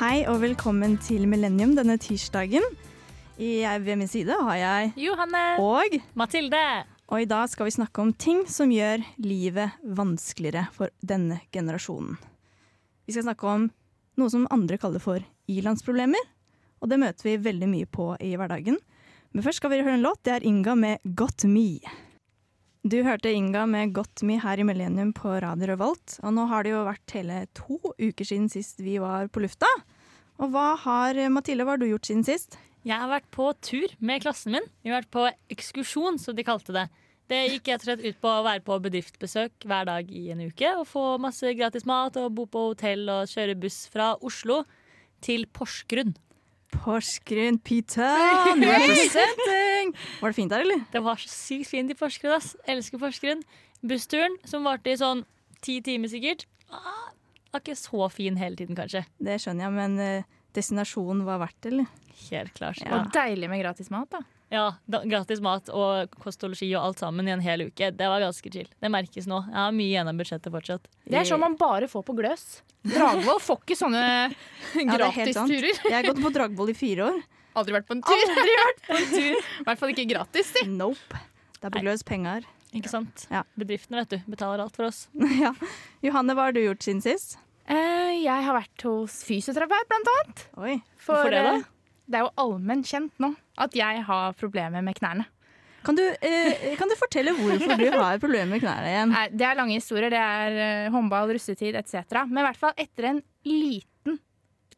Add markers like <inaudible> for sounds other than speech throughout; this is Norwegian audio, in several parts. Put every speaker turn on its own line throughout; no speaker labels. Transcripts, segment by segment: Hei og velkommen til Millennium denne tirsdagen. I, eh, ved min side har jeg
Johanne.
og,
Mathilde.
og i dag skal vi snakke om ting som gjør livet vanskeligere for denne generasjonen. Vi skal snakke om noe som andre kaller for i-landsproblemer, og det møter vi veldig mye på i hverdagen. Men først skal vi høre en låt. Det er Inga med 'Got Me'. Du hørte Inga med 'Got Me' her i Millennium på Radio Revolt. Og nå har det jo vært hele to uker siden sist vi var på lufta. Og hva har Mathilde, hva har du gjort siden sist?
Jeg har vært på tur med klassen min. Vi har vært på ekskursjon, som de kalte det. Det gikk rett og slett ut på å være på bedriftsbesøk hver dag i en uke og få masse gratis mat og bo på hotell og kjøre buss fra Oslo til Porsgrunn.
Porsgrunn <laughs> Pyton! Representing! Var det fint der, eller?
Det var så sykt fint i Porsgrunn, ass. Elsker Porsgrunn. Bussturen, som varte i sånn ti timer sikkert, ah, var ikke så fin hele tiden, kanskje.
Det skjønner jeg, men eh, destinasjonen var verdt det, eller?
Helt klart.
Ja.
Og deilig med gratis mat, da.
Ja, da, gratis mat og kost og losji og alt sammen i en hel uke. Det var ganske chill. Det merkes nå. Jeg har mye igjen av budsjettet fortsatt.
Det er sånn man bare får på gløs. Dragvoll får ikke <laughs> sånne
Ja, det er helt sant.
gratisturer.
Jeg har gått på Dragvoll i fire år.
Aldri vært på en tur. Aldri vært på en <laughs> tur. I hvert fall ikke gratis. Si.
Nope. Det er på gløs penger.
Ikke sant?
Ja.
Bedriftene vet du, betaler alt for oss.
ja. Johanne, hva har du gjort siden sist?
Eh, jeg har vært hos fysioterapeut, blant annet.
Oi.
Hvorfor det da?
eh, Det er jo allmenn kjent nå at jeg har problemer med knærne.
Kan du, eh, kan du fortelle hvorfor du har problemer med knærne igjen?
Nei, det er lange historier. Det er eh, håndball, russetid etc. Men i hvert fall etter en liten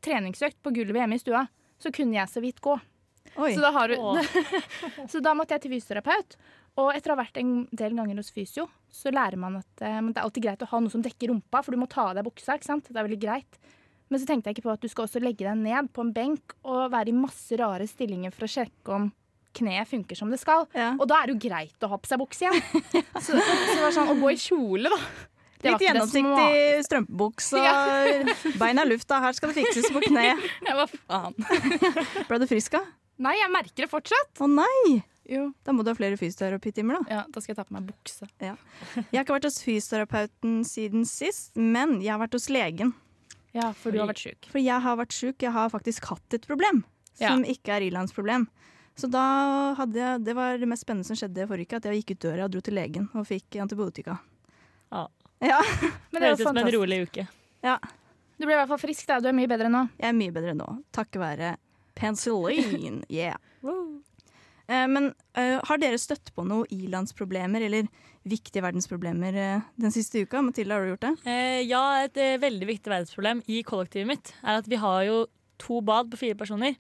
treningsøkt på gulvet hjemme i stua, så kunne jeg så vidt gå.
Oi.
Så da, har du,
Åh,
Så da måtte jeg til fysioterapeut. Og etter å ha vært en del ganger hos fysio, så lærer man at eh, det er alltid greit å ha noe som dekker rumpa, for du må ta av deg buksa. ikke sant? Det er veldig greit. Men så tenkte jeg ikke på at du skal også legge deg ned på en benk og være i masse rare stillinger for å sjekke om kneet funker som det skal.
Ja.
Og da er det jo greit å ha på seg bukse <laughs> igjen. Så, så det var sånn, Å gå i kjole, da. Det
Litt
var ikke det
gjennomsiktig strømpebuks <laughs> og beina i lufta. Her skal det fikses på
<laughs>
kne.
smarte. Jeg var faen.
<laughs> Ble du frisk av?
Nei, jeg merker det fortsatt.
Å nei!
Jo.
Da må du ha flere fysioterapitimer, da.
Ja, Da skal jeg ta på meg bukse.
Jeg har ikke vært hos fysioterapeuten siden sist, men jeg har vært hos legen.
Ja, for du har vært sjuk.
For jeg har vært sjuk. Jeg har faktisk hatt et problem som ikke er Ilans problem. Så da hadde jeg, Det var det mest spennende som skjedde forrige uke, at jeg gikk ut døra og dro til legen og fikk antibiotika.
Ja.
Ja,
Men det er
Høres ut
jo
som en
fantastisk.
rolig uke.
ja.
Du ble i hvert fall frisk, da. Du er mye bedre nå.
Jeg er mye bedre nå, takket være <laughs> penicillin. Yeah. Eh, Men eh, har dere støtt på noe ilandsproblemer eller viktige verdensproblemer eh, den siste uka? Mathilde, har du gjort det?
Eh, ja, et eh, veldig viktig verdensproblem i kollektivet mitt er at vi har jo to bad på fire personer.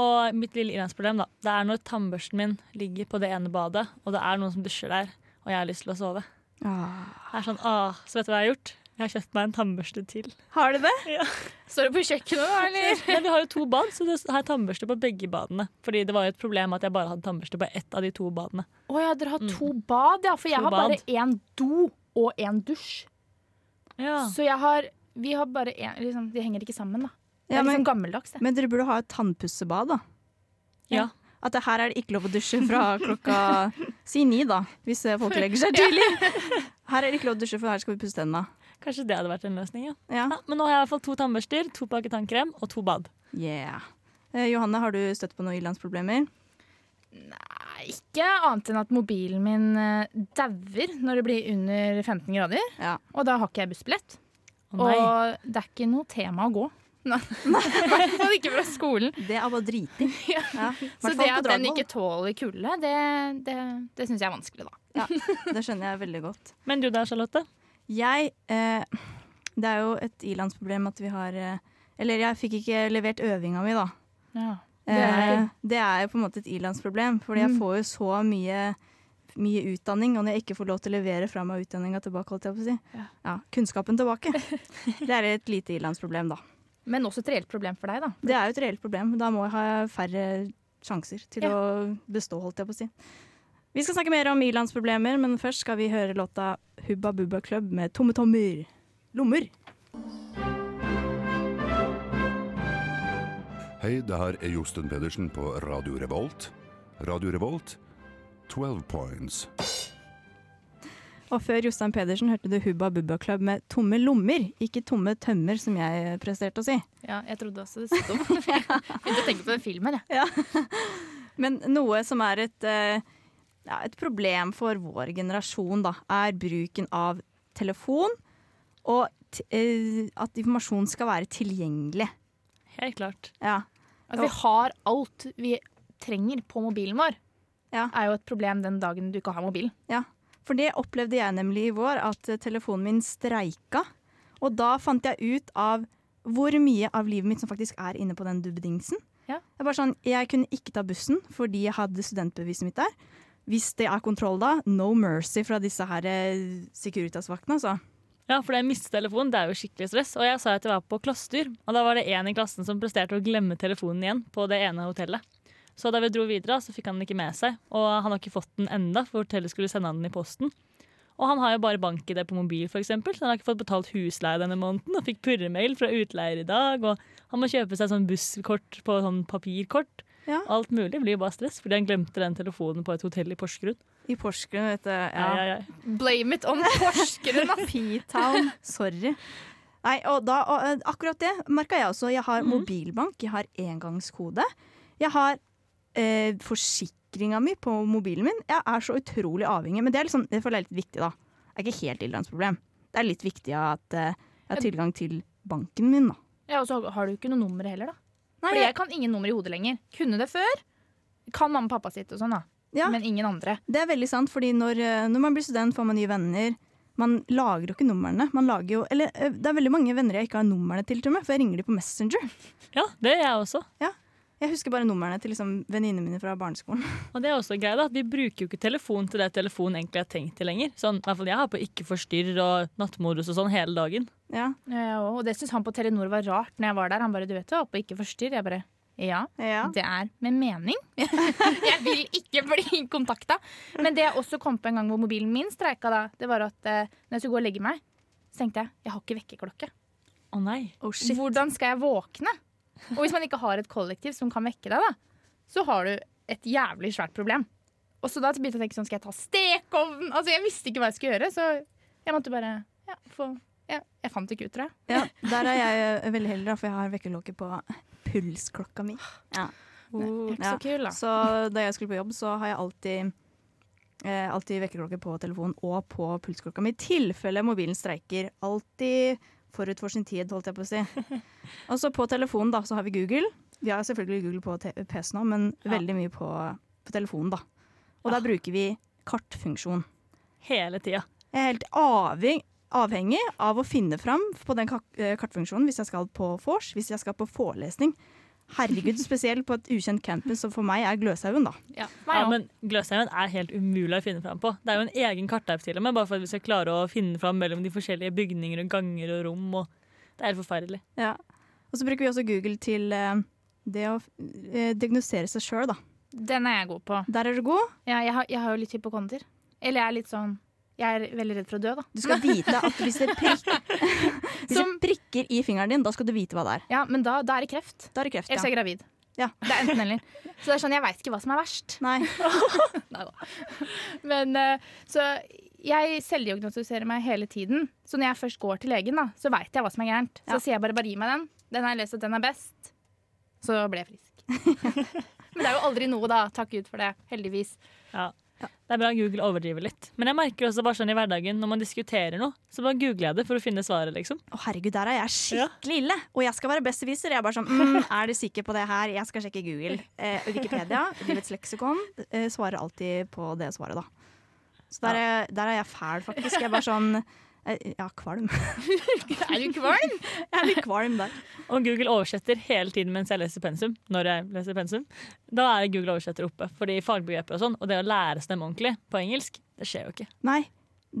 Og mitt lille ilandsproblem, da, det er når tannbørsten min ligger på det ene badet, og det er noen som dusjer der, og jeg har lyst til å sove. Det er sånn, ah, Så vet du hva jeg har gjort? Jeg har kjøpt meg en tannbørste til.
Har du det?
Står du på kjøkkenet da,
<laughs>
eller?
Nei, vi har jo to bad, så det har jeg tannbørste på begge badene. Fordi det var jo et problem at jeg bare hadde tannbørste på ett av de to badene.
Å ja, dere har to bad, ja. For jeg
To
har bare
bad.
én do og én dusj.
Ja.
Så jeg har Vi har bare én liksom, De henger ikke sammen, da. Det er
Ja, men,
liksom gammeldags, det.
men dere burde ha et tannpussebad, da.
ja.
At det her er det ikke lov å dusje fra klokka Si ni, da, hvis eh, folk legger seg tidlig. Her er det ikke lov å dusje, for her skal vi pusse tennene.
Kanskje det hadde vært en løsning, ja.
Ja.
ja. Men nå har jeg i hvert fall to tannbørster, to pakker tannkrem og to bad.
Yeah. Eh, Johanne, har du støtt på noen ilandsproblemer?
Nei, Ikke annet enn at mobilen min eh, dauer når det blir under 15 grader.
Ja.
Og da har ikke jeg bussbillett.
Å
Og
nei.
det er ikke noe tema å gå. <laughs> Nei, I hvert fall ikke fra skolen.
Det er bare driting.
<laughs> Ja.
Ja.
Så
Hvertfall
det
på
at den
Dragvoll.
ikke tåler kulde, det, det, det syns jeg er vanskelig, da.
ja, Det skjønner jeg veldig godt.
Men du da, Charlotte?
Jeg eh, Det er jo et ilandsproblem at vi har eh, Eller jeg fikk ikke levert øvinga mi, da.
Ja. Det er-
Eh, det er jo på en måte et ilandsproblem, fordi
Mm.
jeg får jo så mye, mye utdanning, og når jeg ikke får lov til å levere fra meg utdanninga tilbake, holdt jeg på å si.
Ja.
Ja, kunnskapen
<laughs>
tilbake. Det er et lite ilandsproblem, da.
Men også et reelt problem for deg, da.
Det er jo et reelt problem. Da må jeg ha færre sjanser til
Ja.
å bestå, holdt jeg på å si. Vi skal snakke mer om ilandsproblemer, men først skal vi høre låta Hubba Bubba Club med Tomme Tommer. Lommer.
Hei, det her er Josten Pedersen på Radio Revolt. Radio Revolt, 12 points.
Og før Jostein Pedersen hørte du Hubba Bubba Club med tomme lommer, ikke tomme tømmer, som jeg presterte å si.
Ja, jeg trodde også det
<laughs>
sto om. Begynte å tenke på den filmen, jeg.
Men noe som er et, eh, ja, et problem for vår generasjon, da, er bruken av telefon. Og t eh, at informasjon skal være tilgjengelig.
Helt klart.
Ja.
At Altså, vi har alt vi trenger på mobilen vår,
Ja.
er jo et problem den dagen du ikke har mobilen.
For det opplevde jeg nemlig i vår, at eh, telefonen min streika. Og da fant jeg ut av hvor mye av livet mitt som faktisk er inne på den dubbedingsen.
Ja.
Det er bare sånn, jeg kunne ikke ta bussen fordi jeg hadde studentbeviset mitt der. Hvis det er kontroll da, no mercy fra disse her eh, Securitas-vaktene, altså.
Ja, for jeg mistet telefonen. Det er jo skikkelig stress. Og jeg sa at jeg var på klassetur, og da var det en i klassen som presterte å glemme telefonen igjen på det ene hotellet. Så da vi dro videre, så fikk han den ikke med seg, og han har ikke fått den enda, for hotellet skulle sende han den i posten. Og han har jo bare bank-ID på mobil, for eksempel, så han har ikke fått betalt husleie denne måneden, og fikk purremail fra utleier i dag, og han må kjøpe seg sånn busskort på sånn papirkort.
Ja.
Alt mulig blir jo bare stress, fordi han glemte den telefonen på et hotell i Porsgrunn.
I Porsgrunn, vet du.
Ja.
Ja.
Ja, ja,
Blame it on Porsgrunn, ass.
P-town. Sorry. Nei, og da, og, eh, akkurat det merka jeg også. Jeg har mobilbank, jeg har engangskode. Jeg har eh, forsikringa mi på mobilen min. Jeg er så utrolig avhengig. Men det er liksom, det føler jeg er litt viktig, da. Det er ikke helt Illands problem. Det er litt viktig at eh, jeg har tilgang til banken min, da.
Ja, og så har du ikke noe nummer heller, da.
Nei,
For jeg kan ingen nummer i hodet lenger. Kunne det før. Kan mamma og pappa sitt og sånn, da.
Ja.
Men ingen andre.
Det er veldig sant, fordi når, eh, når man blir student, får man nye venner. Man lager jo ikke numrene. Man lager jo, eller, eh, det er veldig mange venner jeg ikke har numrene til, til og med, for jeg ringer dem på Messenger.
ja, det er jeg også.
Jeg husker bare numrene til liksom, venninnene mine fra barneskolen. <laughs>
Og det er også en greie da, at Vi bruker jo ikke telefon til det telefonen egentlig er tenkt til lenger. Sånn, i hvert fall Jeg har på ikke forstyrr og nattmodus og sånn hele dagen.
Ja,
Ja, og det syns han på Telenor var rart når jeg var der. Han bare 'du vet det, oppe og ikke forstyrr'. Jeg bare ja.
ja.
Det er med mening. jeg vil ikke bli kontakta. Men det jeg også kom på en gang hvor mobilen min streika, da, det var at eh, når jeg skulle gå og legge meg, så tenkte jeg jeg har ikke vekkerklokke.
Å nei.
Oh shit.
Hvordan skal jeg våkne? Og hvis man ikke har et kollektiv som kan vekke deg, da, så har du et jævlig svært problem. Og så da begynte jeg å tenke sånn, skal jeg ta stekeovn? Altså, jeg visste ikke hva jeg skulle gjøre, så jeg måtte bare ja, få ja, Jeg fant det ikke ut, tror jeg.
Ja, der er jeg eh, veldig heldig, da, for jeg har vekkerklokke på pulsklokka mi.
Oh, Det er ikke
Ja.
så kul, da.
Så da jeg skulle på jobb, så har jeg alltid, eh, alltid vekkerklokke på telefonen og på pulsklokka mi. I tilfelle mobilen streiker. Alltid forut for sin tid, holdt jeg på å si.
<laughs>
Og så på telefonen da, så har vi Google. Vi har selvfølgelig Google på te- PC nå, men
Ja.
veldig mye på, på telefonen, da. Og
Ah.
da bruker vi kartfunksjon.
Hele tida.
Jeg er helt avhengig, avhengig av å finne fram på den kak- eh, kartfunksjonen hvis jeg skal på vors, hvis jeg skal på forelesning.
<laughs>
Herregud, spesielt på et ukjent campus, som for meg er Gløshaugen, da.
Ja.
Ja,
Meg også.
men Gløshaugen er helt umulig å finne fram på. Det er jo en egen kartapp til og med, bare for at vi skal klare å finne fram mellom de forskjellige bygninger og ganger og rom. og Det er helt forferdelig.
Ja. Og så bruker vi også Google til eh, det å eh, diagnosere seg sjøl, da.
Den er jeg god på.
Der er du god.
Ja, jeg, har, jeg har jo litt hypokonder. Eller jeg er litt sånn Jeg er veldig redd for å dø, da.
Du skal vite at hvis det, prikk, <laughs> hvis det
Som-
prikker i fingeren din, da skal du vite hva det er.
Ja, Men da, da er det kreft.
Da er det kreft,
Ellers er
ja.
jeg gravid.
Ja.
Det er enten eller. Så det er sånn, jeg veit ikke hva som er verst.
Nei.
Men eh, så jeg selvdiagnostiserer meg hele tiden. Så når jeg først går til legen, da, så veit jeg hva som er gærent.
Ja.
Så sier jeg bare bare gi meg den. Den har jeg lest at den er best. Så ble jeg frisk.
<laughs>
Men det er jo aldri noe, da. Takk Gud for det. Heldigvis.
Ja. Det er bra Google overdriver litt. Men jeg merker også bare sånn i hverdagen når man diskuterer noe, så bare googler jeg det for å finne svaret, liksom.
Å herregud, der er jeg skikkelig ille. Og jeg skal være besteviser. Jeg er bare sånn mm, <laughs> Er du sikker på det her? Jeg skal sjekke Google. Eh, Wikipedia, Livets leksikon, eh, svarer alltid på det svaret, da. Så der er, der er jeg fæl, faktisk. Jeg er bare sånn eh, Ja, <laughs> kvalm.
Er du kvalm?
Jeg er litt kvalm der.
Og Google oversetter hele tiden mens jeg leser pensum. Når jeg leser pensum. Da er Google oversetter oppe. Fordi fagbegreper og sånn, og det å lære seg dem ordentlig på engelsk, det skjer jo ikke.
Nei,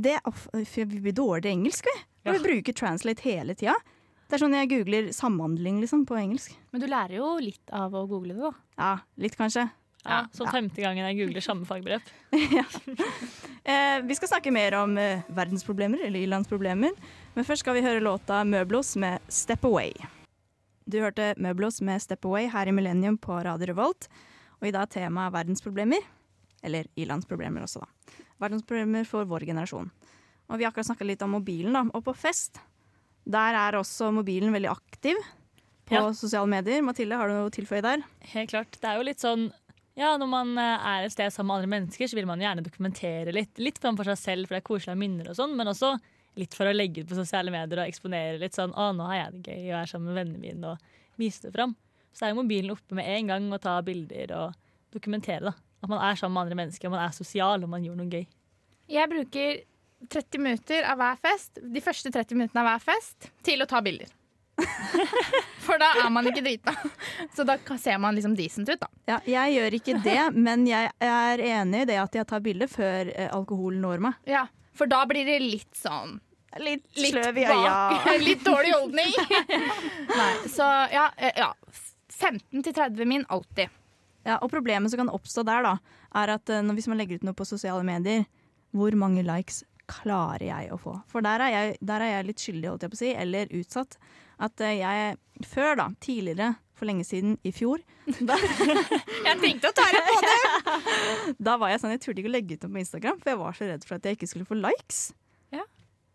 det er, off- for vi blir dårligere i engelsk, vi. Og Vi bruker translate hele tida. Det er sånn jeg googler samhandling, liksom, på engelsk.
<laughs> Men du lærer jo litt av å google det, da.
Ja, litt kanskje.
Ja, så femte gangen jeg googler samme fagbrev.
Eh, vi skal snakke mer om eh, verdensproblemer, eller i-landsproblemer. Men først skal vi høre låta Møblos med Step Away. Du hørte Møblos med Step Away her i Millennium på Radio Revolt. Og i dag er temaet verdensproblemer. Eller i-landsproblemer også, da. Verdensproblemer for vår generasjon. Og vi har akkurat snakka litt om mobilen, da. Og på fest, der er også mobilen veldig aktiv på
Ja.
sosiale medier. Mathilde, har du noe å tilføye der?
Helt klart. Det er jo litt sånn ja, Når man eh, er et sted sammen med andre mennesker, så vil man gjerne dokumentere litt. Litt for, for seg selv, for det er koselige minner og sånn, men også litt for å legge ut på sosiale medier og eksponere litt sånn 'Å, nå har jeg det gøy og er sammen med vennene mine', og vise det fram. Så er jo mobilen oppe med en gang og ta bilder og dokumentere, da. At man er sammen med andre mennesker, man er sosial og man gjør noe gøy.
Jeg bruker 30 minutter av hver fest, de første 30 minuttene av hver fest, til å ta bilder. <laughs> For da er man ikke drita. Så da kan- ser man liksom decent ut, da.
Ja, jeg gjør ikke det, <laughs> men jeg er enig i det at jeg tar bilde før eh, alkohol når meg.
Ja. For da blir det litt sånn
Litt,
Litt
sløv i øya.
bak. <laughs> Litt dårlig <laughs> holdning. Nei, så ja. eh, ja. 15 til 30 min alltid.
<laughs> Ja, og problemet som kan oppstå der, da, er at eh, når- hvis man legger ut noe på sosiale medier, hvor mange likes klarer jeg å få? For der er jeg, der er jeg litt skyldig, holdt jeg på å si, eller utsatt. At eh, jeg før, da, tidligere, for lenge siden, i fjor,
Jeg tenkte å ta det på
da var jeg sånn, jeg turte ikke å legge ut noe på Instagram, for jeg var så redd for at jeg ikke skulle få likes.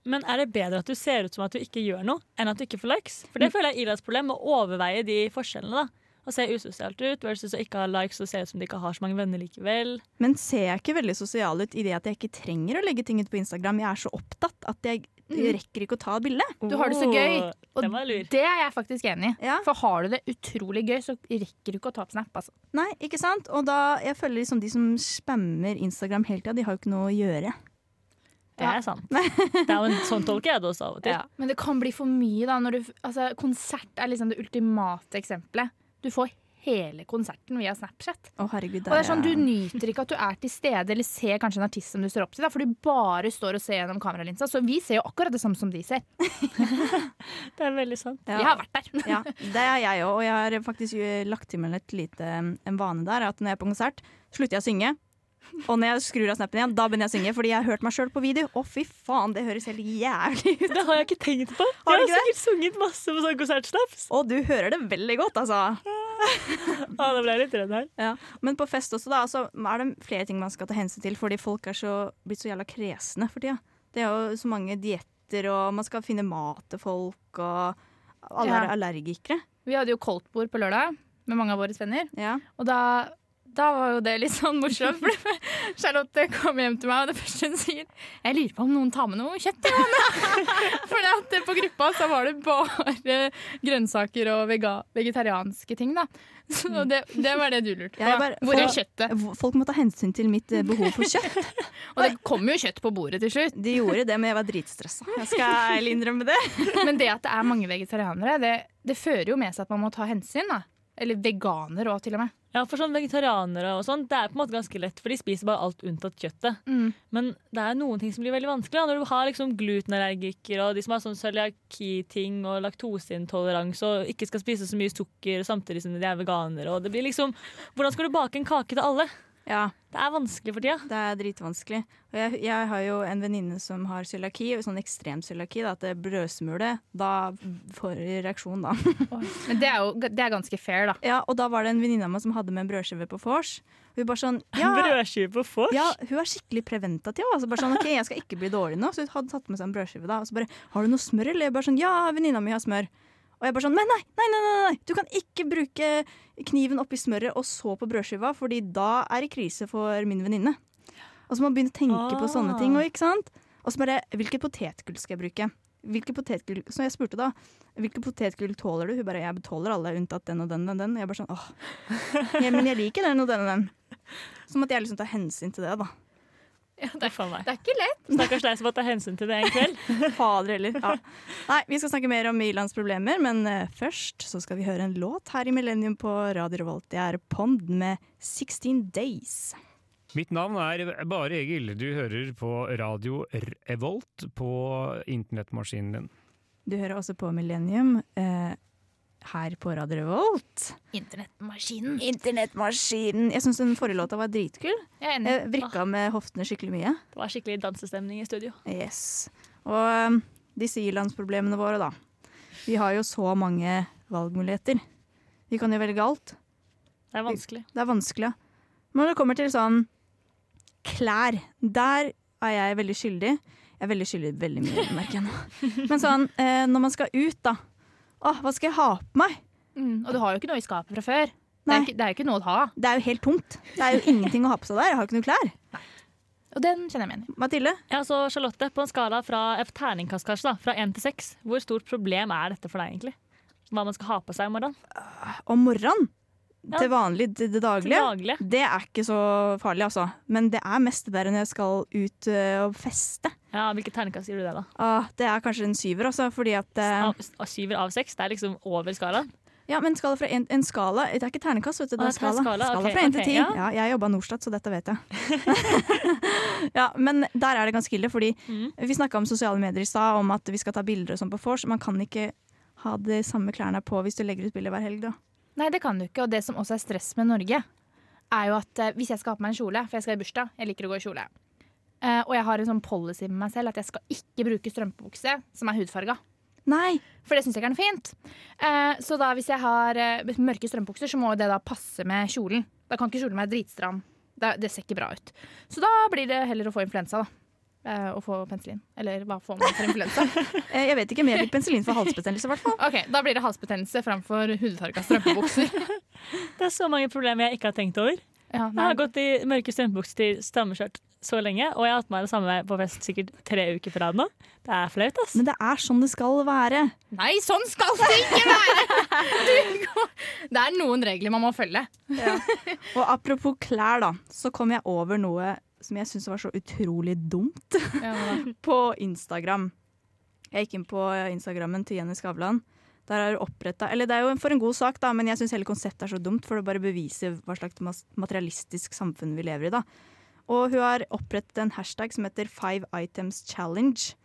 Men er det bedre at du ser ut som at du ikke gjør noe, enn at du ikke får likes? For det føler jeg er Ilas problem, å overveie de forskjellene. da. Å se usosialt ut versus å ikke ha likes og se ut som de ikke har så mange venner likevel.
Men ser jeg ikke veldig sosial ut i det at jeg ikke trenger å legge ting ut på Instagram? Jeg er så opptatt at jeg rekker ikke å ta et bilde.
Du har det så gøy,
Oh, den var lur.
Det er jeg faktisk enig i.
Ja.
For har du det utrolig gøy, så rekker du ikke å ta opp Snap. Altså.
Nei, ikke sant? Og da, jeg føler liksom de som spammer Instagram hele tida, de har jo ikke noe å gjøre.
Det er
<laughs>
sant. Det er jo en sånn tolker jeg det også av og til.
Ja. Men det kan bli for mye, da. Når du, altså, konsert er liksom det ultimate eksempelet. Du får hele konserten via Snapchat.
Å, herregud,
Og det er sånn, Du nyter ikke at du er til stede eller ser kanskje en artist som du står opp til, da, for du bare står og ser gjennom kameralinsa. Så vi ser jo akkurat det samme som de ser.
Det er veldig
<laughs>
sant.
Ja.
Jeg har vært der.
ja, det er jeg òg, og jeg har faktisk jo lagt til meg et lite, en vane der. At når jeg er på konsert, slutter jeg å synge. Og når jeg skrur av snappen igjen, da begynner jeg å synge. Fordi jeg har hørt meg sjøl på video. Å, fy faen, det høres helt jævlig ut.
Det har jeg ikke tenkt på. Jeg
Har
har
du ikke
sikkert sunget masse på sånn konsertsnaps.
Og du hører det veldig godt, altså.
Ah, da ble jeg litt redd her.
Ja. Men på fest også, da, så er det flere ting man skal ta hensyn til. Fordi folk er så, blitt så jævla kresne for tida. Det er jo så mange dietter, og man skal finne mat til folk, og alle
Ja.
er allergikere.
<laughs> Vi hadde jo koldtbord på lørdag med mange av våre venner,
Ja.
og da da var jo det litt sånn morsomt. For Charlotte kom hjem til meg, og det første hun sier Jeg lurer på om noen tar med noe kjøtt. <laughs> For eh, på gruppa så var det bare grønnsaker og vega vegetarianske ting. da. Så det, det var det du lurte på.
Jeg bare-
Hvor er
for-
kjøttet?
Eh, Folk må ta hensyn til mitt eh, behov for kjøtt.
Og det kom jo kjøtt på bordet til slutt.
<laughs> De gjorde det, men jeg var dritstressa. Jeg skal ærlig innrømme det.
Men det at det er mange vegetarianere, det, det fører jo med seg at man må ta hensyn. da. Eller veganer òg, til og med.
Ja, for sånn vegetarianere og sånn, det er på en måte ganske lett, for de spiser bare alt unntatt kjøttet.
Mm.
Men det er noen ting som blir veldig vanskelig, da, når du har liksom glutenallergiker og de som har sånn cøliaki-ting og laktoseintoleranse og ikke skal spise så mye sukker samtidig som de er veganere. Og det blir liksom, hvordan skal du bake en kake til alle?
Ja,
Det er vanskelig for tida.
det er dritvanskelig. Og jeg, jeg har jo en venninne som har cøliaki, og sånn ekstrem cøliaki, da, at det er brødsmule. Da får jeg reaksjon, da.
Men det er jo det er ganske fair, da.
Ja, og da var det en venninne av meg som hadde med en brødskive på vors. Og hun bare sånn ja,
Brødskive på vors?
ja, hun er skikkelig preventativ. Altså bare sånn, ok, jeg skal ikke bli dårlig nå. Så hun hadde tatt med seg en brødskive da. Og så bare Har du noe smør, eller? Jeg bare sånn Ja, venninna mi har smør. Og jeg bare sånn Men nei, nei, nei, nei, nei! Du kan ikke bruke kniven oppi smøret og så på brødskiva, fordi da er det krise for min venninne. Og så må man begynne å tenke på sånne
Ah.
ting òg, ikke sant? Og så bare Hvilket potetgull skal jeg bruke? Hvilke potetgull Så jeg spurte da Hvilke potetgull tåler du? Hun bare Jeg tåler alle unntatt den og den og den. Og jeg bare sånn Åh. Ja, men jeg liker den og den og den. Så måtte jeg liksom ta hensyn til det, da.
det er for meg.
Det er ikke lett.
Stakkars deg som må ta hensyn til det en kveld.
Fader heller. Ja. Nei, vi skal snakke mer om Milans problemer, men eh, først så skal vi høre en låt her i Millennium på Radio Revolt. Det er Pond med 16 Days.
Mitt navn er Bare Egil. Du hører på radio Revolt på internettmaskinen din.
Du hører også på Millennium eh, her på Radio Revolt.
Internettmaskinen.
Internettmaskinen. Jeg syns den forrige låta var dritkul.
Jeg er enig.
Jeg vrikka med hoftene skikkelig mye.
Det var skikkelig dansestemning i studio.
Yes. Og eh, disse ilandsproblemene våre, da. Vi har jo så mange valgmuligheter. Vi kan jo velge alt.
Det er vanskelig.
Det er vanskelig. Men når det kommer til sånn klær, der er jeg veldig skyldig. Jeg er veldig skyldig veldig mye, merker jeg nå. Men sånn, eh, når man skal ut, da. Å, hva skal jeg ha på meg?
Mm, og du har jo ikke noe i skapet fra før. Det
Nei.
er, ikke, det er jo ikke noe å ha.
Det er jo helt tomt. Det er jo ingenting å ha på seg der. Jeg har ikke noe klær.
Og den kjenner jeg meg igjen i.
Mathilde?
Ja, så Charlotte, på en skala fra et terningkast kanskje da, fra én til seks, hvor stort problem er dette for deg egentlig? Hva man skal ha på seg i morgen?
Om morgenen?
Ja.
Til vanlig, til det
Til
daglige?
daglig?
Det er ikke så farlig, altså. Men det er mest det der når jeg skal ut ø, og feste.
Ja, Hvilket terningkast gir du det, da?
Ah, det er kanskje en syver, altså. Fordi at ø,
Av, av syver av seks? Det er liksom over skalaen?
Ja, men skala fra en, en skala Det er ikke ternekast, vet du.
Å,
Det er
det er
skala.
skala,
Skala
ok,
fra én til
ok,
ti.
ja.
Ja, jeg jobba Norstat, så dette vet jeg.
<laughs>
ja, Men der er det ganske ille, fordi
Mm.
vi snakka om sosiale medier i stad, om at vi skal ta bilder og sånn på vors. Man kan ikke ha de samme klærne på hvis du legger ut bilde hver helg, da.
Nei, det kan du ikke. Og det som også er stress med Norge, er jo at eh, hvis jeg skal ha på meg en kjole, for jeg skal i bursdag, jeg liker å gå i kjole, eh, og jeg har en sånn policy med meg selv at jeg skal ikke bruke strømpebukse som er hudfarga.
Nei!
For det syns jeg ikke er noe fint. Eh, så da hvis jeg har eh, mørke strømpebukser, så må jo det da passe med kjolen. Da kan ikke kjolen være dritstram. Det, det ser ikke bra ut. Så da blir det heller å få influensa, da. Eh, å få penicillin. Eller hva får man for influensa?
eh, Jeg vet ikke, men jeg fikk penicillin for halsbetennelse, i hvert fall.
Ok, Da blir det halsbetennelse framfor hudfarga <laughs> strømpebukser.
Det er så mange problemer jeg ikke har tenkt over.
Ja,
Jeg
nei.
har gått i mørke strømpebukser til stammeskjørt så lenge, og jeg har hatt meg det samme på fest sikkert tre uker på rad nå. Det er flaut, ass.
Men det er sånn det skal være.
nei, sånn skal det ikke være! Du går- Det er noen regler man må følge.
Og apropos klær, da, så kom jeg over noe som jeg syntes var så utrolig dumt. på Instagram. Jeg gikk inn på eh, Instagrammen til Jenny Skavlan. Der er det opprettet, eller Det er jo for en god sak, da, men jeg syns hele konseptet er så dumt. For det bare beviser hva slags mas- materialistisk samfunn vi lever i. da. Og hun har opprettet en hashtag som heter Five Items Challenge.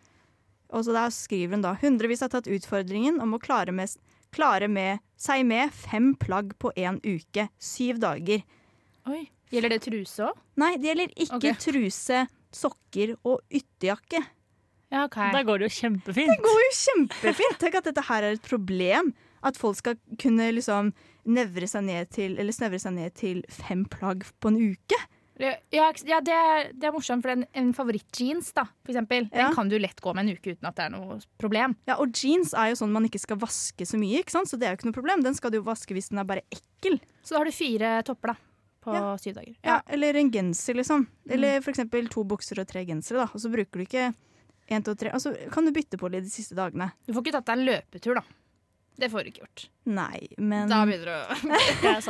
Og så der skriver hun da hundrevis har tatt utfordringen om å klare, med, klare med, seg med fem plagg på én uke. Syv dager.
Oi. Gjelder det truse òg?
Nei, det gjelder ikke
Ok.
truse, sokker og ytterjakke.
Ja, OK.
Da går det jo kjempefint.
går jo kjempefint. Tenk at dette her er et problem. At folk skal kunne liksom nevre seg ned til, eller snevre seg ned til fem plagg på en uke.
Ja, ikke- ja det, er, det er morsomt, for en, en favorittjeans, da, for eksempel,
Ja.
den kan du lett gå med en uke uten at det er noe problem.
Ja, Og jeans er jo sånn man ikke skal vaske så mye, ikke sant? så det er jo ikke noe problem. Den skal du jo vaske hvis den er bare ekkel.
Så da har du fire topper da, på
Ja.
syv dager.
Ja, Eller en genser, liksom. Eller for eksempel to bukser og tre gensere, da. Og så bruker du ikke én, to, tre. Og så kan du bytte på litt de siste dagene.
Du får ikke tatt deg en løpetur, da. Det får du ikke gjort.
Nei, men
Da begynner du å <laughs> sånn.
Det er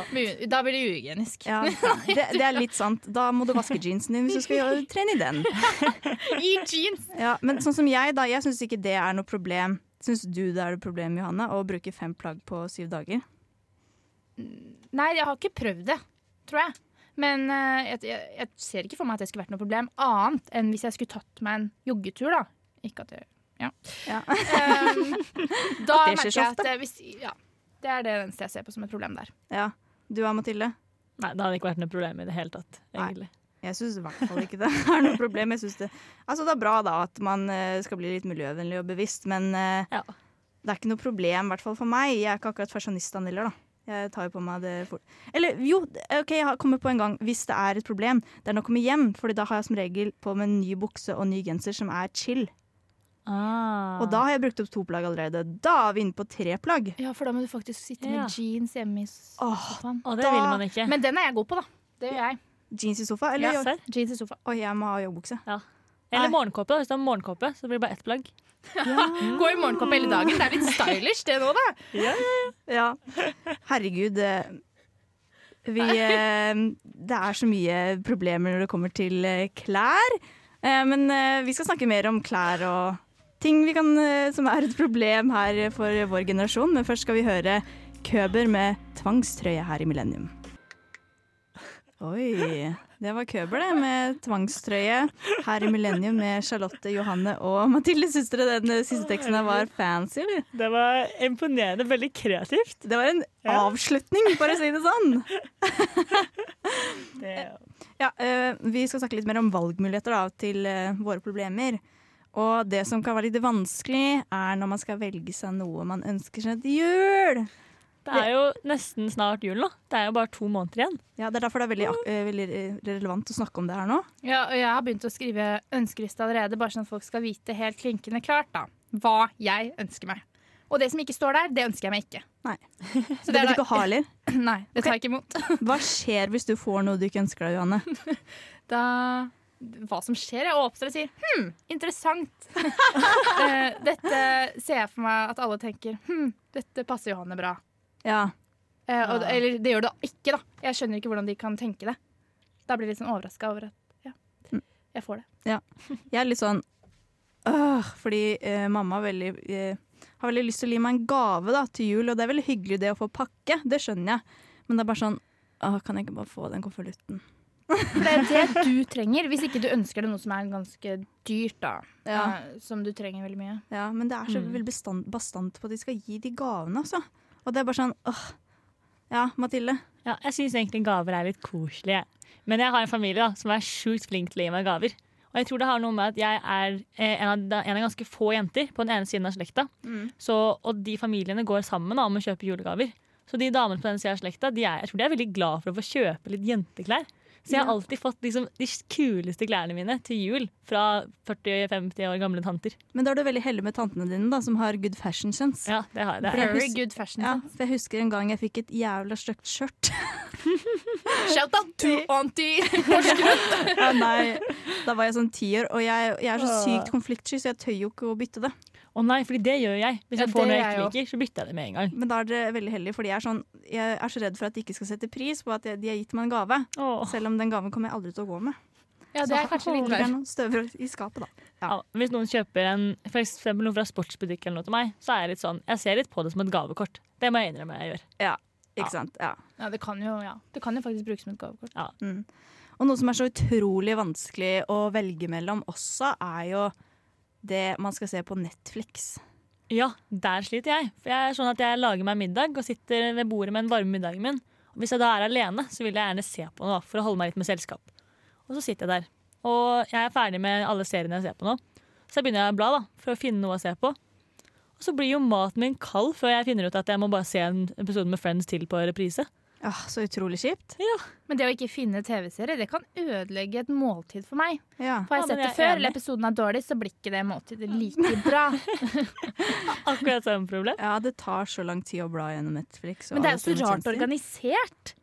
sant.
Da blir det uhygienisk. <laughs>
ja, det, det er litt sant. Da må du vaske jeansen din hvis du skal gjøre- trene i den.
I jeans!
Ja, men sånn som jeg, da. Jeg syns ikke det er noe problem. Syns du det er et problem, Johanne, å bruke fem plagg på syv dager?
Nei, jeg har ikke prøvd det, tror jeg. Men eh, jeg, jeg, jeg ser ikke for meg at det skulle vært noe problem, annet enn hvis jeg skulle tatt meg en joggetur, da. Ikke at det Ja.
Ja. <laughs>
Em, da
Det skjer
merker
så
jeg
ofte.
at eh, hvis, ja, det er det eneste jeg ser på som et problem der.
Ja. Du da, Mathilde?
Nei, det hadde ikke vært noe problem i det hele tatt.
Nei.
egentlig.
Jeg syns i hvert fall ikke det er noe problem. Jeg synes det, altså det er bra da at man eh, skal bli litt miljøvennlig og bevisst, men eh,
Ja.
det er ikke noe problem, i hvert fall for meg. Jeg er ikke akkurat fashionisten heller, da. Jeg tar jo på meg det fort. Eller jo, ok, jeg har kommet på en gang. Hvis det er et problem, det er når jeg kommer hjem. Fordi da har jeg som regel på meg en ny bukse og ny genser som er chill.
Ah.
Og da har jeg brukt opp to plagg allerede. Da er vi inne på tre plagg.
Ja, for da må du faktisk sitte
Ja.
med jeans hjemme i s-
Åh,
sofaen.
Og det
da-
vil man ikke.
Men den er jeg god på, da. Det gjør jeg.
Jeans i sofa? Eller
Ja,
jo-
serr.
Jeans i sofaen.
Oi, jeg må ha joggebukse.
Eller
Nei.
morgenkåpe. da. Hvis du har morgenkåpe, så blir det bare ett plagg.
Gå i morgenkåpe hele dagen. Det er litt stylish, det nå, da.
Ja. Herregud. eh, Vi eh, Det er så mye problemer når det kommer til eh, klær. Eh, Men eh, vi skal snakke mer om klær og ting vi kan, eh, som er et problem her for vår generasjon. Men først skal vi høre Køber med tvangstrøye her i Millennium. Oi. Det var Køber, det, med tvangstrøye her i Millennium med Charlotte, Johanne og Mathilde. Syns dere den eh, siste teksten her var fancy, eller?
Det var imponerende. Veldig kreativt.
Det var en
Ja.
avslutning, for å si det sånn.
Det,
Ja, eh, vi skal snakke litt mer om valgmuligheter da, til eh, våre problemer. Og det som kan være litt vanskelig, er når man skal velge seg noe man ønsker seg til jul.
Det er jo nesten snart jul nå. Det er jo bare to måneder igjen.
Ja, Det er derfor det er veldig, ak- eh, veldig relevant å snakke om det her nå.
Ja, og jeg har begynt å skrive ønskeliste allerede, bare sånn at folk skal vite helt klinkende klart da, hva jeg ønsker meg. Og det som ikke står der, det ønsker jeg meg ikke.
Nei.
<laughs> Så
det
det er
vil du
da-
ikke ha, eller?
<laughs> Nei, det tar jeg ikke imot.
Hva skjer hvis du får noe du ikke ønsker deg, Johanne?
<laughs> Da, hva som skjer, jeg åpner og sier, hm, interessant. <laughs> Eh, dette ser jeg for meg at alle tenker, hm, dette passer Johanne bra.
Ja,
Eh, og,
Ja.
Eller det gjør det ikke, da. Jeg skjønner ikke hvordan de kan tenke det. Da blir jeg litt sånn overraska over at ja,
Mm.
jeg får det.
Jeg er litt sånn «Åh», Fordi eh, mamma har veldig, eh, har veldig lyst til å gi meg en gave da, til jul, og det er veldig hyggelig det å få pakke, det skjønner jeg. Men det er bare sånn Åh, Kan jeg ikke bare få den konvolutten?
For det er det du trenger, hvis ikke du ønsker deg noe som er ganske dyrt, da. Eh, som du trenger veldig mye.
ja, men det er så
Mm.
veldig bestand, bastant på at de skal gi de gavene, altså. Og det er bare sånn Åh. Ja, Mathilde.
Ja, jeg syns egentlig gaver er litt koselige. Men jeg har en familie da, som er sjukt flink til å gi meg gaver. Og jeg tror det har noe med at jeg er eh, en av, da- en av ganske få jenter på den ene siden av slekta.
Mm.
Så, og de familiene går sammen da, om å kjøpe julegaver. Så de damene på den siden av slekta de er, jeg tror de er veldig glad for å få kjøpe litt jenteklær. Så jeg har alltid fått liksom, de kuleste klærne mine til jul fra 40-50 år gamle tanter.
Men da er du veldig heldig med tantene dine, da, som har good fashion sense.
Ja, det har jeg. Det er.
Very good fashion.
Ja, for jeg husker en gang jeg fikk et jævla stygt skjørt.
<laughs>
Shout out to auntie!
Ja, nei. Da var jeg sånn ti år, og jeg, jeg er så sykt konfliktsky, så jeg tør jo ikke å bytte det.
Å nei, fordi det gjør jeg. Hvis
Ja,
jeg får
det
noe jeg
er
ikke
jeg
liker, så bytter jeg det med en gang.
Men da er dere veldig heldige, fordi jeg er, sånn, jeg er så redd for at de ikke skal sette pris på at jeg- de har gitt meg en gave.
Åh.
Selv om den gaven kommer jeg aldri til å gå med.
Ja, det er kanskje litt
Det er
verre.
noen støver i skapet, da.
Ja, hvis noen kjøper en, for eksempel noe fra sportsbutikk eller noe til meg, så er jeg litt sånn, jeg ser litt på det som et gavekort. Det må jeg innrømme jeg gjør. Ja.
Ikke sant? Ja.
Ja, det kan jo, ja. Det kan jo faktisk brukes som et gavekort.
Og noe som er så utrolig vanskelig å velge mellom også, er jo det man skal se på Netflix.
Ja, der sliter jeg. For jeg er sånn at jeg lager meg middag og sitter ved bordet med den varme middagen min. Og hvis jeg da er alene, så vil jeg gjerne se på noe for å holde meg litt med selskap. Og så sitter jeg der. Og jeg er ferdig med alle seriene jeg ser på nå. Så jeg begynner jeg å bla da, for å finne noe å se på. Og så blir jo maten min kald før jeg finner ut at jeg må bare se en episode med Friends til på reprise.
Ja, så utrolig kjipt.
Men det å ikke finne TV-serier, det kan ødelegge et måltid for meg.
Ja.
Ja,
Har jeg sett
men
det
jeg er
før,
enig.
eller episoden er dårlig, så blir ikke det måltidet like bra.
Akkurat samme problem.
ja, det tar så lang tid å bla gjennom Netflix. og
Men det er
alle
jo så rart
strømmetjenester.
organisert.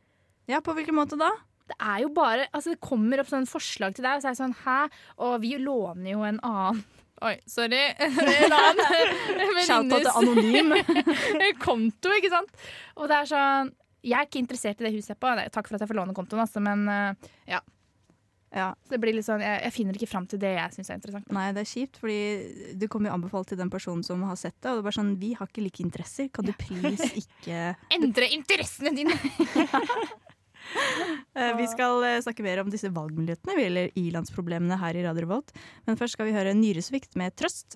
Ja, på hvilken måte da?
Det er jo bare, altså det kommer opp sånn forslag til deg, og så er det sånn Hæ? Og vi låner jo en annen. Oi, sorry. <laughs> En annen
Shout-out til
venninnes
Anonym.
<laughs> konto, ikke sant? Og det er sånn Jeg er ikke interessert i det huset jeg er på. Nei, Takk for at jeg får låne kontoen, altså, men eh,
Ja.
så det blir litt sånn, jeg, jeg finner ikke fram til det jeg syns er interessant.
Nei, det er kjipt, fordi du kommer jo anbefalt til den personen som har sett det, og det er bare sånn, vi har ikke like interesser, kan du <laughs> please ikke...
Endre interessene dine!
Eh, Vi skal eh, snakke mer om disse valgmulighetene, vi, eller ilandsproblemene her i Radio Revolt, men først skal vi høre Nyresvikt med Trøst.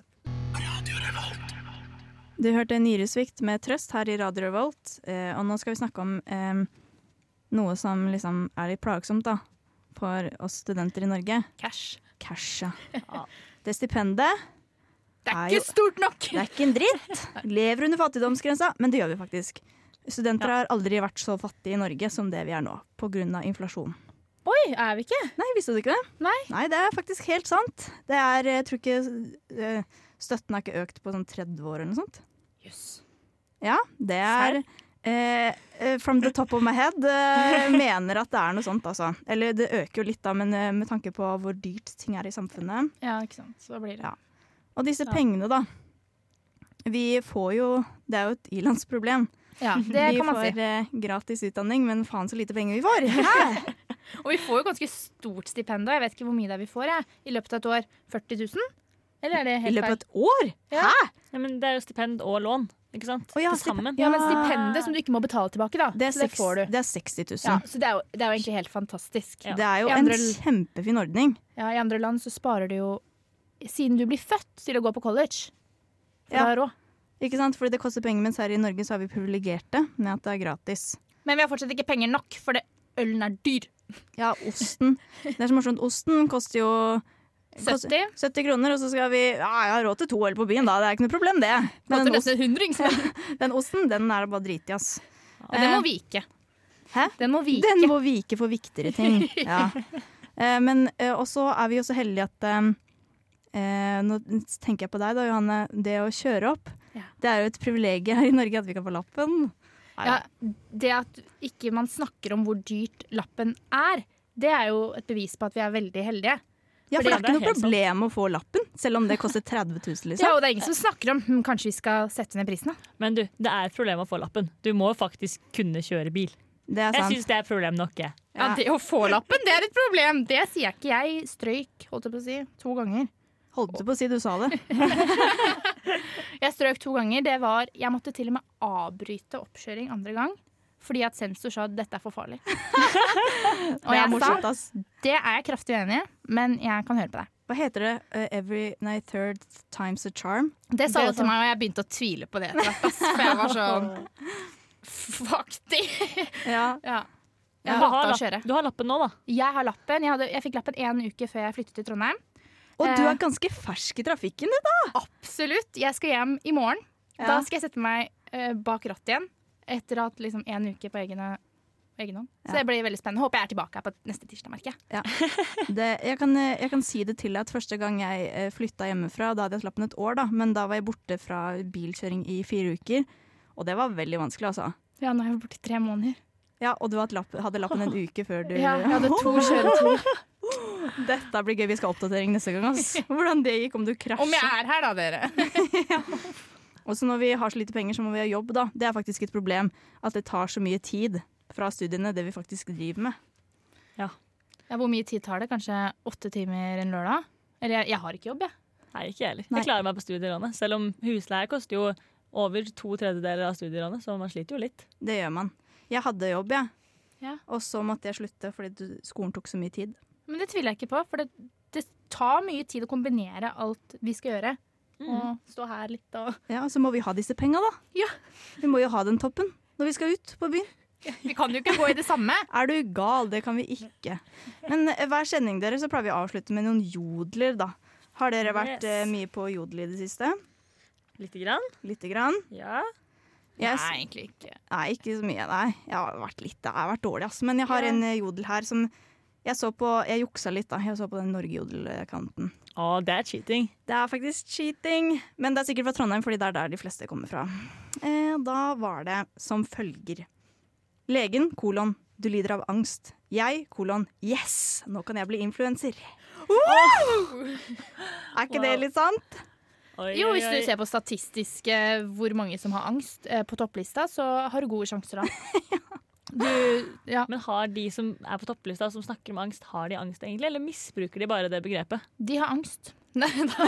Du hørte Nyresvikt med Trøst her i Radio Revolt, eh, og nå skal vi snakke om eh, noe som liksom er litt plagsomt da, for oss studenter i Norge.
<laughs> Cash.
Cash, ja.
Ja.
Det stipendet,
Det
Er
er
jo-
ikke stort nok!
Det er ikke en dritt. Lever under fattigdomsgrensa, men det gjør vi faktisk. Studenter har aldri vært så fattige i Norge som det vi er nå, pga. inflasjon.
Oi, er vi ikke?
Nei, visste du ikke det?
Nei.
det er faktisk helt sant. Det er, jeg tror ikke eh, Støtten har ikke økt på sånn 30 år eller noe sånt.
Jøss.
Ja, det er eh, eh, From the top of my head eh, mener at det er noe sånt, altså. Eller det øker jo litt, da, men eh, med tanke på hvor dyrt ting er i samfunnet.
Ja, ikke sant. Så da blir det
Ja. Og disse pengene, da. Vi får jo Det er jo et ilandsproblem.
Ja, det
vi
kan man
får
si.
eh, gratis utdanning, men faen så lite penger vi får! <laughs> Hæ?
Og vi får jo ganske stort stipend, og jeg vet ikke hvor mye det er vi får jeg. i løpet av et år. 40 000? Eller er det
I
helt
løpet av
feil?
et år!
Nei, men det er jo stipend og lån, ikke sant?
Å ja,
Til sammen.
Ja, men stipendet som du ikke må betale tilbake, da.
Det er,
så det
seks-
får du.
det er 60 000.
Ja, så det er, jo, det er jo egentlig helt fantastisk.
Ja.
Det er jo
I
en
andre l-
kjempefin ordning.
Ja, I andre land så sparer du jo siden du blir født til å gå på college. For
Ja.
du har råd.
Ikke sant? Fordi det koster penger, mens her i Norge så har vi privilegert det med at det er gratis.
Men vi har fortsatt ikke penger nok, for det, ølen er dyr.
Ja, osten. Det er så morsomt. Osten koster jo koster
70.
70 kroner, og så skal vi Ja, jeg har råd til to øl på byen, da. Det er ikke noe problem, det. Men
Koster
den, ost,
nesten en hundring. så-
den osten, den er det bare drit i, ass.
Og det må vike.
Hæ?
Den må vike.
Den må vike for viktigere ting. Ja. Eh, men eh, også er vi jo så heldige at eh, eh, Nå tenker jeg på deg da, Johanne. Det å kjøre opp,
Ja.
det er jo et privilegium her i Norge at vi kan få lappen. Nei,
Ja, det at ikke man snakker om hvor dyrt lappen er, det er jo et bevis på at vi er veldig heldige.
ja, for
fordi-
det er ikke
det er
noe
helt sant.
problem å få lappen, selv om det koster 30 000, liksom.
Ja, og det er ingen som snakker om hm, kanskje vi skal sette ned prisen. da.
Men du, det er et problem å få lappen. Du må jo faktisk kunne kjøre bil.
Det er
Jeg
sant.
syns det er et problem nok, jeg.
Ja.
Ja, det å få lappen, det er et problem! Det sier jeg ikke. Jeg strøyk, holdt jeg på å si, to ganger.
Holdt du på å si du sa det?
Jeg strøk to ganger. Det var Jeg måtte til og med avbryte oppkjøring andre gang. Fordi at sensor sa at dette er for farlig. <laughs> og
Det er
jeg sa
morsomt, ass.
det er jeg kraftig uenig i, men jeg kan høre på deg.
Hva heter det? Eh, every Nei, third time's a charm.
Det
Det er
sa alle til
sant.
meg, og jeg begynte å tvile på det etter hvert. ass, For jeg var sånn Fuck det!
Ja,
Ja.
Du
Jeg
har
hater å
lapp-
kjøre.
Du har lappen nå, da.
Jeg har lappen. Jeg, hadde, jeg fikk lappen én uke før jeg flyttet til Trondheim.
Og du
Eh.
er ganske fersk i trafikken, du.
Absolutt. Jeg skal hjem i morgen. Da
Ja.
skal jeg sette meg eh, bak rattet igjen. Etter å ha hatt liksom én uke på egen, på egen hånd.
Ja.
Så det blir veldig spennende. Håper jeg er tilbake her på neste tirsdag, merker jeg.
Det, jeg, kan, eh, jeg kan si det til deg at første gang jeg eh, flytta hjemmefra, da hadde jeg slappen et år, da, men da var jeg borte fra bilkjøring i fire uker. Og det var veldig vanskelig, altså.
Ja, nå er jeg borte i tre måneder.
Ja, Og du hadde lapp- hadde lappen en uke før du
<laughs> Ja, jeg
<laughs>
hadde to
Oh,
kjøreturer.
Dette blir gøy, vi skal ha oppdatering neste gang.
<laughs>
ass. Hvordan det gikk, om du
Om jeg
krasja.
er her, da, dere.
Og så når vi har så lite penger, så må vi ha jobb, da. Det er faktisk et problem at det tar så mye tid fra studiene, det vi faktisk driver med.
Ja, hvor mye tid tar det? Kanskje åtte timer en lørdag? Eller jeg, jeg har ikke jobb, jeg.
Nei, ikke jeg heller.
Nei.
Jeg klarer meg på studielånet. Selv om husleie koster jo over to tredjedeler av studielånet, så man sliter jo litt.
Det gjør man. Jeg hadde jobb, jeg.
Ja.
Og så måtte jeg slutte fordi du- skolen tok så mye tid.
Men det tviler jeg ikke på, for det, det tar mye tid å kombinere alt vi skal gjøre.
Mm.
Og stå her litt og
Ja, og så må vi ha disse penga, da.
Ja.
Vi må jo ha den toppen når vi skal ut på byen.
Vi kan jo ikke gå i det samme.
Er du gal? Det kan vi ikke. Men eh, hver sending dere så pleier vi å avslutte med noen jodler, da. Har dere vært
Yes.
eh, mye på jodel i det siste?
Lite grann.
Lite grann?
Ja.
Jeg s-
Nei, egentlig ikke.
Nei, ikke så mye. Nei. Jeg har vært litt, jeg har vært dårlig, ass. Men jeg har
Ja.
en eh, jodel her som jeg så på Jeg juksa litt, da. Jeg så på den Norgejodel-kanten.
Å, det er cheating.
Det er faktisk cheating, men det er sikkert fra Trondheim, fordi det er der de fleste kommer fra. Eh, da var det som følger. Legen, kolon, du lider av angst. Jeg, kolon, yes, nå kan jeg bli influenser. Er ikke det
Wow.
litt sant?
Oi,
Jo,
oi,
hvis du
oi.
ser på statistisk eh, hvor mange som har angst eh, på topplista, så har du gode sjanser da. Du, ja,
Men har de som er på topplista som snakker om angst, har de angst egentlig? Eller misbruker de bare det begrepet?
de har angst. Nei, da.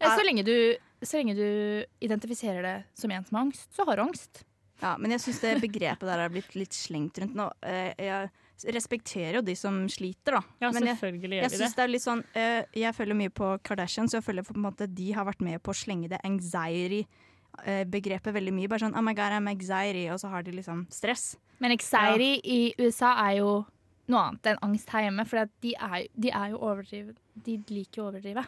Eh, Så lenge, du, så lenge du identifiserer det som en som har angst, så har du angst.
Ja, men jeg syns det begrepet der er blitt litt slengt rundt nå. Eh, jeg respekterer jo de som sliter, da.
Ja,
men jeg,
selvfølgelig
jeg
gjør de det.
synes det er litt sånn eh, Jeg følger mye på Kardashian, så jeg føler på en måte de har vært med på å slenge det anxiety-begrepet veldig mye. Bare sånn 'oh my god, I'm anxiety', og så har de liksom stress.
Men anxiety i USA er jo noe annet enn angst her hjemme, for at de er, de er jo overdrivet. De liker jo å overdrive.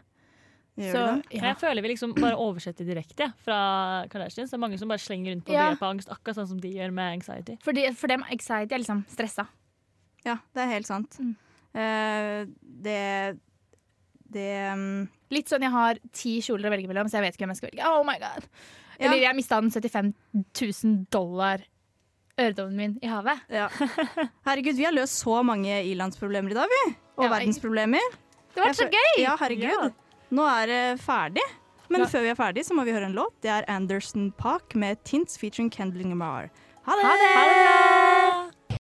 Så,
Men
ja.
jeg føler vi liksom bare oversetter direkte ja, fra Kardashians. Det er mange som bare slenger rundt på
Ja.
begrepet angst, akkurat sånn som de gjør med anxiety.
for, de, for dem anxiety er liksom stressa.
Ja, det er helt sant.
Mm.
Eh, det det mm,
Litt sånn jeg har ti kjoler å velge mellom, så jeg vet ikke hvem jeg skal velge. Oh my god.
Ja.
Eller jeg mista den 75 000 dollar øredobben min i havet.
ja. Herregud, vi har løst så mange ilandsproblemer i dag, vi. Og
Ja, jeg-
verdensproblemer.
Det var så
Jeg fø-
gøy!
Ja, herregud. Nå er det ferdig. Men før vi er ferdig, så må vi høre en låt. Det er Anderson Park med Tints featuring Kendall Lamar. Ha det! Ha det!